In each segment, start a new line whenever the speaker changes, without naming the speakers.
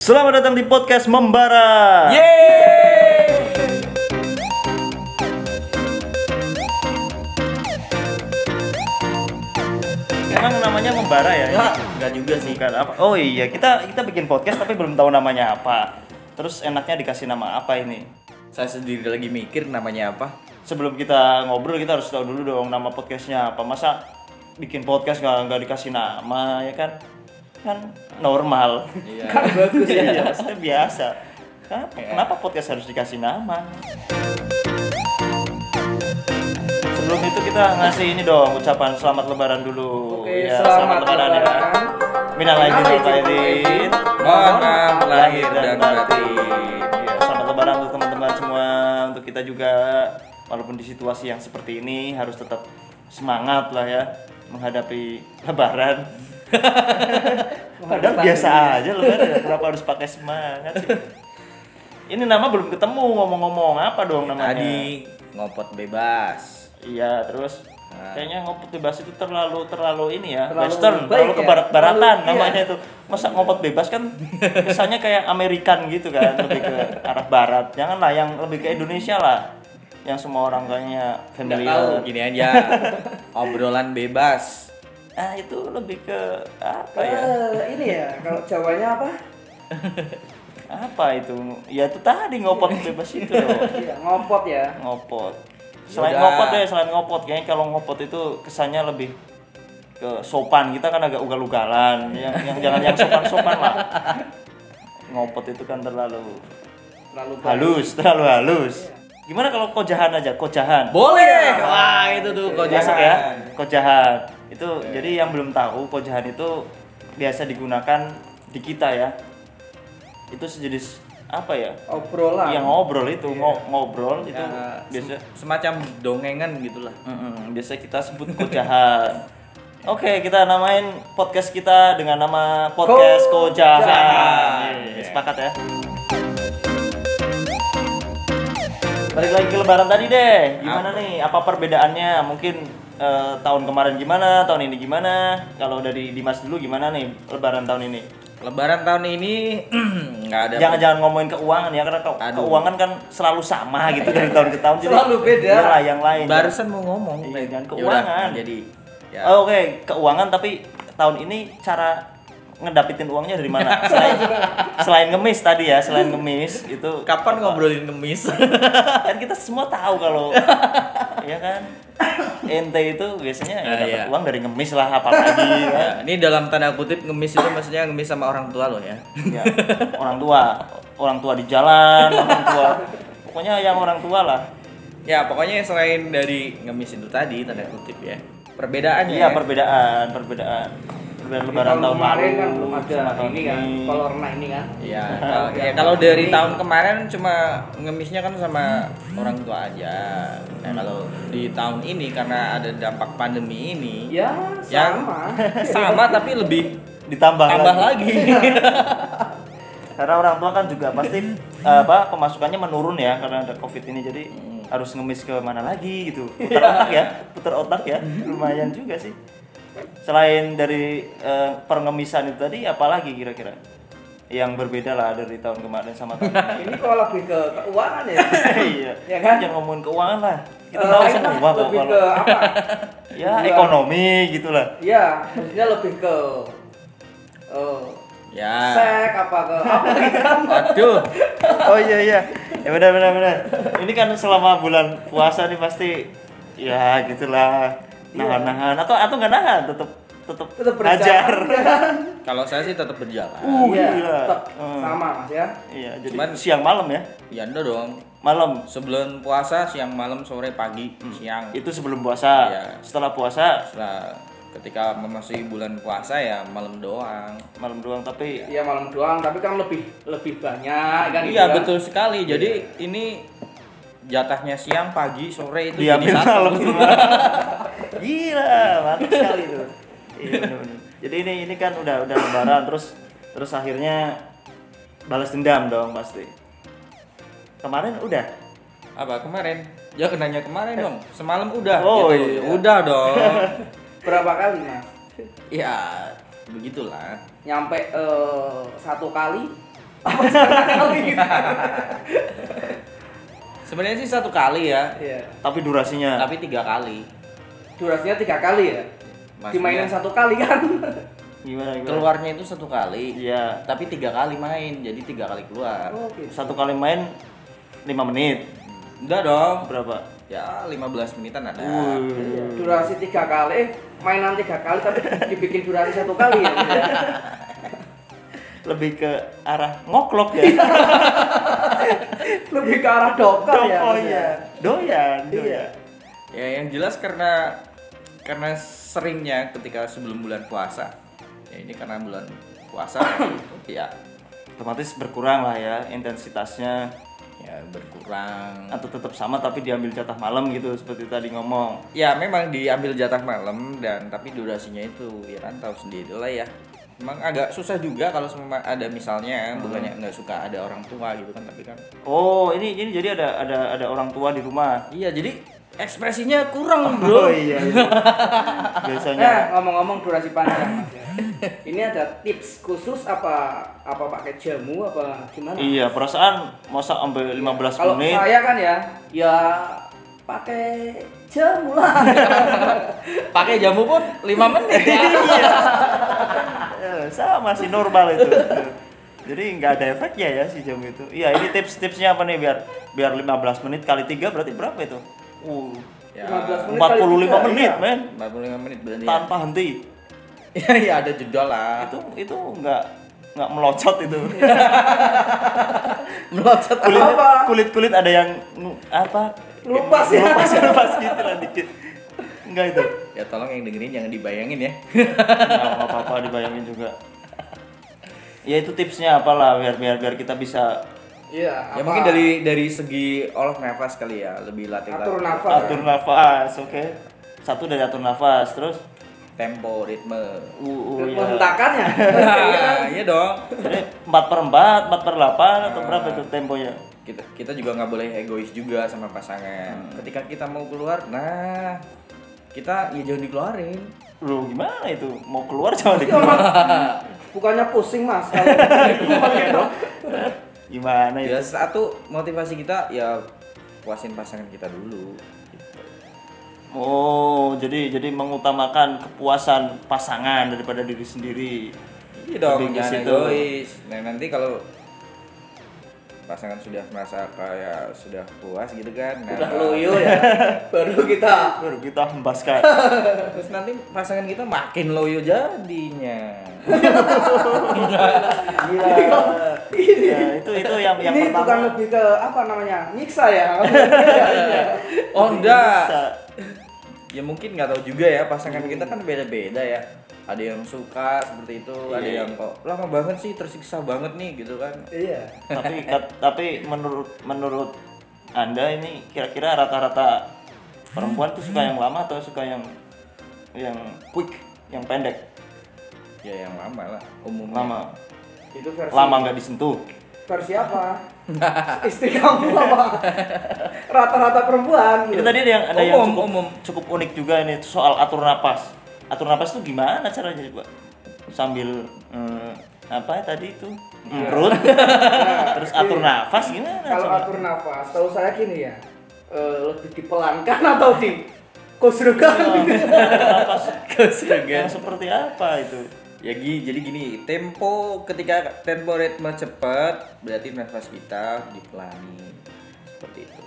Selamat datang di podcast Membara.
Yeay!
Emang namanya Membara ya?
Ya.
Enggak juga sih. Bukan apa? Oh iya, kita kita bikin podcast tapi belum tahu namanya apa. Terus enaknya dikasih nama apa ini?
Saya sendiri lagi mikir namanya apa.
Sebelum kita ngobrol kita harus tahu dulu dong nama podcastnya apa. Masa bikin podcast nggak nggak dikasih nama ya kan? Kan normal.
Iya.
Bagus ya. Maksudnya biasa. Kenapa,
Iya.
kenapa podcast harus dikasih nama? Sebelum itu kita ngasih ini dong ucapan selamat lebaran
Oh,
dulu. Iya,
iya.
Oke, selamat
ya.
ya.
lebaran.
Minal aidin wal faizin.
Mohon maaf lahir dan batin.
Ya, selamat lebaran untuk teman-teman semua, untuk kita juga walaupun di situasi yang seperti ini harus tetap semangat lah ya menghadapi lebaran. Padahal biasa aja lebaran ya, kenapa harus pakai semangat sih? Ini nama belum ketemu ngomong-ngomong apa dong namanya?
Tadi ngopot bebas.
Iya, terus kayaknya ngopot bebas itu terlalu terlalu ini ya,
Nah. Terlalu
western,
baik
terlalu
ya?
kebarat-baratan
Terlalu- iya.
namanya itu. Masa ngopot bebas kan kesannya kayak Amerikan gitu kan, lebih ke arah barat. Jangan lah yang lebih ke Indonesia lah. Yang semua orang kayaknya
Nggak
familiar.
tahu gini aja. Obrolan bebas.
Ah, itu lebih ke apa ya?
Eh, ini ya kalau Jawanya apa?
Apa itu? Ya itu tadi ngopot bebas itu loh.
Iya, ngopot ya.
ngopot selain
Yaudah.
ngopot deh selain ngopot kayaknya kalau ngopot itu kesannya lebih ke sopan kita kan agak ugal-ugalan yang, yang jangan yang sopan-sopan lah ngopot itu kan terlalu
Lalu
halus terlalu halus gimana kalau kojahan aja kojahan
Boleh. Wah, itu tuh kok
masuk ya kojahan itu jadi yang belum tahu kojahan itu biasa digunakan di kita ya itu sejenis apa Iya. eh, ya
obrolan.
yang ngobrol itu ngo- ngobrol itu biasa
Semacam dongengan gitulah.
Mm-mm, biasa kita sebut kocahan. Oke, kita namain podcast kita dengan nama podcast
Ko-
Kojahan.
Kojahan.
Yeay, Sepakat ya. Balik lagi ke lebaran tadi deh. Gimana nih? Apa perbedaannya? Mungkin eh, tahun kemarin gimana, tahun ini gimana? Kalau dari Dimas dulu gimana nih lebaran tahun ini?
Lebaran tahun ini nggak ada.
Jangan-jangan ngomongin keuangan ya karena ke-
Aduh.
keuangan kan selalu sama gitu dari tahun ke tahun. Jadi
Selalu beda.
iyalah, yang lain.
Barusan mau ngomong.
Iya, jangan
Yaudah,
keuangan.
Jadi ya.
Oh, Oke, keuangan tapi tahun ini cara ngedapetin uangnya dari mana? Selain, selain ngemis tadi ya, selain ngemis itu
Kapan ngobrolin ngemis?
kan kita semua tahu kalau ya kan ente itu biasanya ya
Ah,
dapat
iya.
uang dari ngemis lah apalagi ya.
Ya, ini dalam tanda kutip ngemis itu maksudnya ngemis sama orang tua loh ya.
ya orang tua, orang tua di jalan, orang tua pokoknya yang orang tua lah.
Ya pokoknya selain dari ngemis itu tadi tanda kutip ya. Perbedaannya
Iya
ya.
perbedaan, perbedaan. Perbedaan
Jadi
lebaran tahun
kemarin
lalu
kan belum ada
sama tahun
ini kan, kalau warna ini kan.
Iya, kalau- ya, kalau dari tahun kemarin cuma ngemisnya kan sama orang tua aja. Nah, kalau di tahun ini karena ada dampak pandemi ini
Ya,
Yang-
sama.
sama tapi lebih
ditambah
tambah
lagi.
lagi.
karena orang tua kan juga pasti eh, apa pemasukannya menurun ya karena ada covid ini jadi harus ngemis ke mana lagi gitu putar
Iya.
otak ya putar otak ya lumayan juga sih selain dari eh, pengemisan itu tadi apalagi kira-kira yang berbeda lah dari tahun kemarin sama tahun ini
ini kalau lebih ke keuangan ya.
iya
Ya kan?
jangan ngomongin keuangan lah kita
Eh,
tahu
lain lah,
semua kok
lebih
kalau
ke apa?
ya ekonomi gitulah
Iya, maksudnya lebih ke eh
Ah.
ya.
sek apa ke apa gitu kan.
Aduh.
Oh iya iya. Ya benar benar benar. Ini kan selama bulan puasa nih pasti ya gitulah nahan-nahan atau atau nggak nahan tetap tetap
Tetap
hajar.
Iya. berjalan. ya kan?
Kalau saya sih tetap berjalan.
Uh,
Iya,
gila.
tetap
Hmm.
sama Mas ya.
Iya, jadi
Cuman-
siang malam ya.
Ya enggak dong.
Malam
Sebelum puasa siang malam sore pagi siang
itu sebelum puasa.
Iya.
Setelah puasa
Setelah ketika memasuki bulan puasa ya malam doang.
malam doang tapi
Iya malam doang, tapi kan lebih lebih banyak kan gitu
Iya
kan.
betul sekali. Jadi ini jatahnya siang, pagi, sore itu jadi
diambil
satu.
malam semua. Iya, Gila, mantap sekali tuh. Iya benar-benar. Jadi ini ini kan udah udah lebaran terus terus akhirnya balas dendam dong pasti. Kemarin udah
Apa kemarin? Ya nanya kemarin dong. Semalam udah.
Oh,
gitu.
iya.
Udah dong.
Berapa kali Mas?
ya begitulah.
nyampe eh, satu kali Apa sekali?
Sebenarnya sih satu kali ya,
Iya.
Tapi durasinya.
tapi tiga kali.
Durasinya tiga kali ya.
Maksudnya-
Dimainin satu kali kan.
Gimana gimana?
Keluarnya itu satu kali,
Iya.
tapi tiga kali main, jadi tiga kali keluar.
Oh, gitu.
Satu kali main 5 menit.
Enggak dong.
Berapa?
Ya 15 menitan ada.
Iya,
Uh.
Durasi tiga kali, eh mainan tiga kali tapi dibikin durasi satu kali ya.
Lebih ke arah ngoklok ya.
Lebih ke arah dokter ya.
iya.
maksudnya.
Doyan,
Iya.
doyan.
Ya yang jelas karena karena seringnya ketika sebelum bulan puasa. Ya ini karena bulan puasa ya
Otomatis berkurang lah ya intensitasnya
ya berkurang.
atau tetap sama tapi diambil jatah malam gitu seperti tadi ngomong.
Ya memang diambil jatah malam dan tapi durasinya itu ya kan tahu sendiri lah ya. Memang agak susah juga kalau semua ada misalnya
Hmm.
bukannya nggak suka ada orang tua gitu kan tapi kan
Oh, ini ini jadi ada ada ada orang tua di rumah.
iya jadi ekspresinya
Oh
kurang bro.
iya. iya.
Nah,
Biasanya
ngomong-ngomong durasi panjang Mas ya. Ini ada tips khusus apa apa pakai jamu apa gimana?
Iya, perasaan masak sampai 15
Iya, Kalau
menit.
saya kan ya, ya pakai jamu lah.
Pakai jamu pun 5 menit ya.
Eh, sama sih normal itu. Jadi nggak ada efeknya ya si jam itu. Iya, ini tips-tipsnya apa nih biar biar 15 menit kali 3 berarti berapa itu? Uh,
Ya,
15 menit kali
45
tiga,
menit,
iya.
men.
45 menit berarti. ya.
Tanpa henti.
Iya, iya ada jeda lah.
Itu itu nggak nggak melocot itu.
Melocot
Kulit
Iya. Apa?
kulit kulit ada yang ngu- apa?
Lupas ya.
Lupas lupas gitu lah dikit. Enggak itu.
Ya tolong yang dengerin jangan dibayangin ya.
nggak apa-apa dibayangin juga. Ya itu tipsnya apalah biar biar biar kita bisa
ya
Iya, apa?
mungkin dari dari segi olah nafas kali ya, lebih latih latih.
atur nafas.
atur nafas, oke. Satu dari atur nafas, terus
Tempo, ritme.
uh, uh, ya.
Menghentakannya.
Nah, iya dong.
Jadi empat per empat, empat per delapan atau berapa itu temponya?
Kita kita juga nggak boleh egois juga sama pasangan. Ketika kita mau keluar, nah kita ya jangan dikeluarin.
Lu gimana itu? Mau keluar jangan
Iya,
dikeluar.
Mas. Bukannya pusing Mas
Iya.
Iya. kalau
Gimana Nah, itu?
Ya satu motivasi kita ya puasin pasangan kita dulu. Gitu.
Oh, jadi jadi mengutamakan kepuasan pasangan daripada diri sendiri.
Iya dong,
Lebih ke
jangan
situ.
egois. Nah nanti kalau pasangan sudah merasa kayak sudah puas gitu kan, nah,
udah
Iya.
loyo ya. Baru kita
Baru kita hembaskan.
terus nanti pasangan kita makin loyo jadinya. Iya.
Ya, itu itu yang yang
ini bukan
pertama.
lebih ke apa namanya nyiksa ya
oh enggak,
Bisa.
ya mungkin nggak tahu juga ya pasangan kita kan beda-beda ya. Ada yang suka seperti itu, ada
Iya.
yang kok lama banget sih tersiksa banget nih gitu kan.
iya
tapi kat- tapi menurut menurut anda ini kira-kira rata-rata perempuan tuh suka yang lama atau suka yang yang quick yang pendek
Ya yang lama lah, umumnya.
lama
itu versi
lama nggak disentuh
versi apa istri kamu apa rata-rata perempuan
itu
gitu.
tadi ada yang ada yang
Umum,
cukup
umum.
cukup unik juga ini soal atur napas atur napas tuh gimana caranya coba sambil eh, apa ya tadi itu
Iya.
perut
Nah,
terus atur
gini,
nafas gimana
kalau
coba?
atur nafas tahu saya gini ya eh, lebih dipelankan atau di kusrukan
Iya. Atur nafas
Kesegan.
yang seperti apa itu
Ya gi- jadi gini, tempo ketika tempo ritme cepat berarti nafas kita dipelani seperti itu.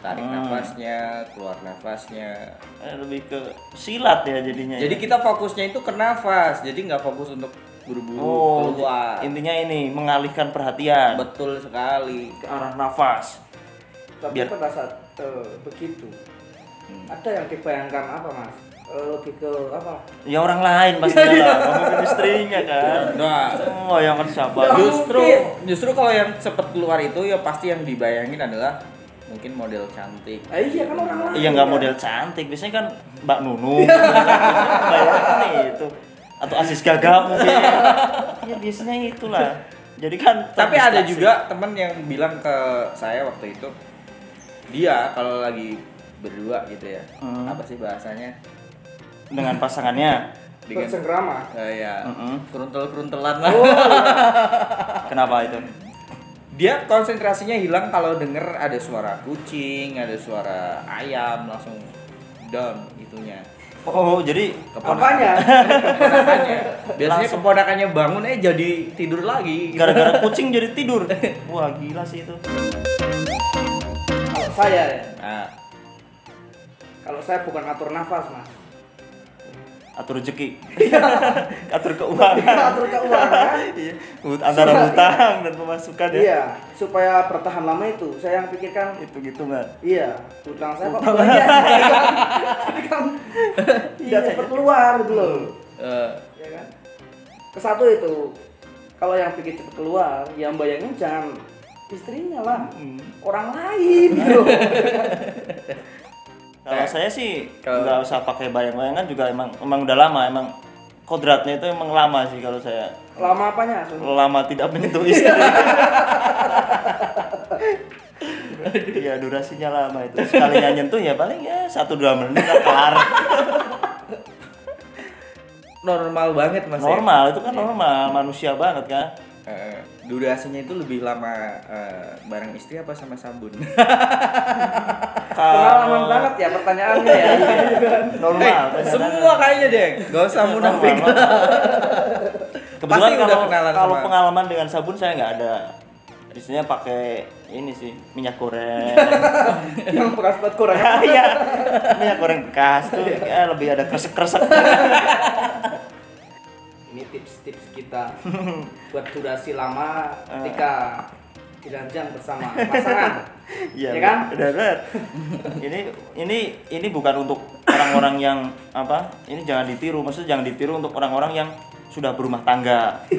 Tarik
Hmm.
nafasnya, keluar nafasnya.
Eh, lebih ke silat ya jadinya ya.
Jadi kita fokusnya itu ke nafas, jadi nggak fokus untuk buru-buru
Oh,
keluar.
intinya ini mengalihkan perhatian
Betul sekali.
ke arah nafas.
tapi
Biar-
pada saat eh, begitu ada yang dibayangkan apa mas Eh, lebih ke apa
Ya orang lain pastinya lah, mungkin istrinya kan.
Nah,
Semua yang kan sabar.
Ya,
Nggak
justru
mungkin.
justru kalau yang cepat keluar itu ya pasti yang dibayangin adalah mungkin model cantik.
Eh, iya kan orang lain
Iya nggak
kan?
model cantik, biasanya kan Mbak Nunung.
Ya.
Bayangin itu atau Asis Gagap mungkin. Ya biasanya itulah. Jadi kan
Tapi ada
terdistraksi.
juga temen yang bilang ke saya waktu itu dia kalau Hmm. lagi berdua gitu ya. Apa sih bahasanya?
dengan pasangannya.
Dengan-
Bercengkrama.
Eh, ya
Mm-mm.
keruntel-keruntelan lah.
Kenapa itu?
Dia konsentrasinya hilang kalau denger ada suara kucing, ada suara ayam langsung down itunya.
Oh, jadi
Apanya?
Keponakannya. Biasanya
Langsung.
keponakannya bangun eh jadi tidur lagi.
gara-gara kucing jadi tidur. Wah, gila sih itu.
Kalau saya ya.
Nah,
Kalau saya bukan atur nafas, Mas.
Atur rezeki. Atur keuangan.
atur keuangan. kan?
Hut- Antara hutang dan pemasukan ya.
Iya, supaya bertahan lama itu. Saya yang pikirkan
Itu gitu nggak?
Iya, utang saya kok banyak. Jadi kan tidak cepat keluar gitu loh.
eh,
Ya kan? Kesatu itu, kalau yang pikir cepat keluar, yang bayangin jangan istrinya lah, orang lain gitu. loh.
Kalau saya sih
kalau-
nggak usah pakai bayang-bayangan juga emang emang udah lama emang kodratnya itu emang lama sih kalau saya
Lama apanya? Sun?
lama tidak menyentuh istri. Iya durasinya lama itu sekalinya nyentuh ya paling ya satu dua menit lah kelar
normal banget mas. ya.
normal itu kan normal manusia banget kan
Eh, durasinya itu lebih lama eh, bareng istri apa sama sabun?
Pengalaman banget ya pertanyaannya ya.
normal
Eh,
ternyata.
semua kayaknya deh. Gak usah munafik.
Normal, kebetulan
Pasti udah
kalau
kenalan
kalau
sama-
pengalaman dengan sabun saya nggak ada Biasanya pakai ini sih minyak goreng
yang bekas buat kurang.
iya minyak goreng bekas tuh ya, lebih ada kresek kresek
Ini tips-tips kita buat durasi lama ketika diranjang bersama pasangan.
iya
ya kan?
benar benar. ini ini ini bukan untuk orang-orang yang apa ini jangan ditiru maksudnya jangan ditiru untuk orang-orang yang sudah berumah tangga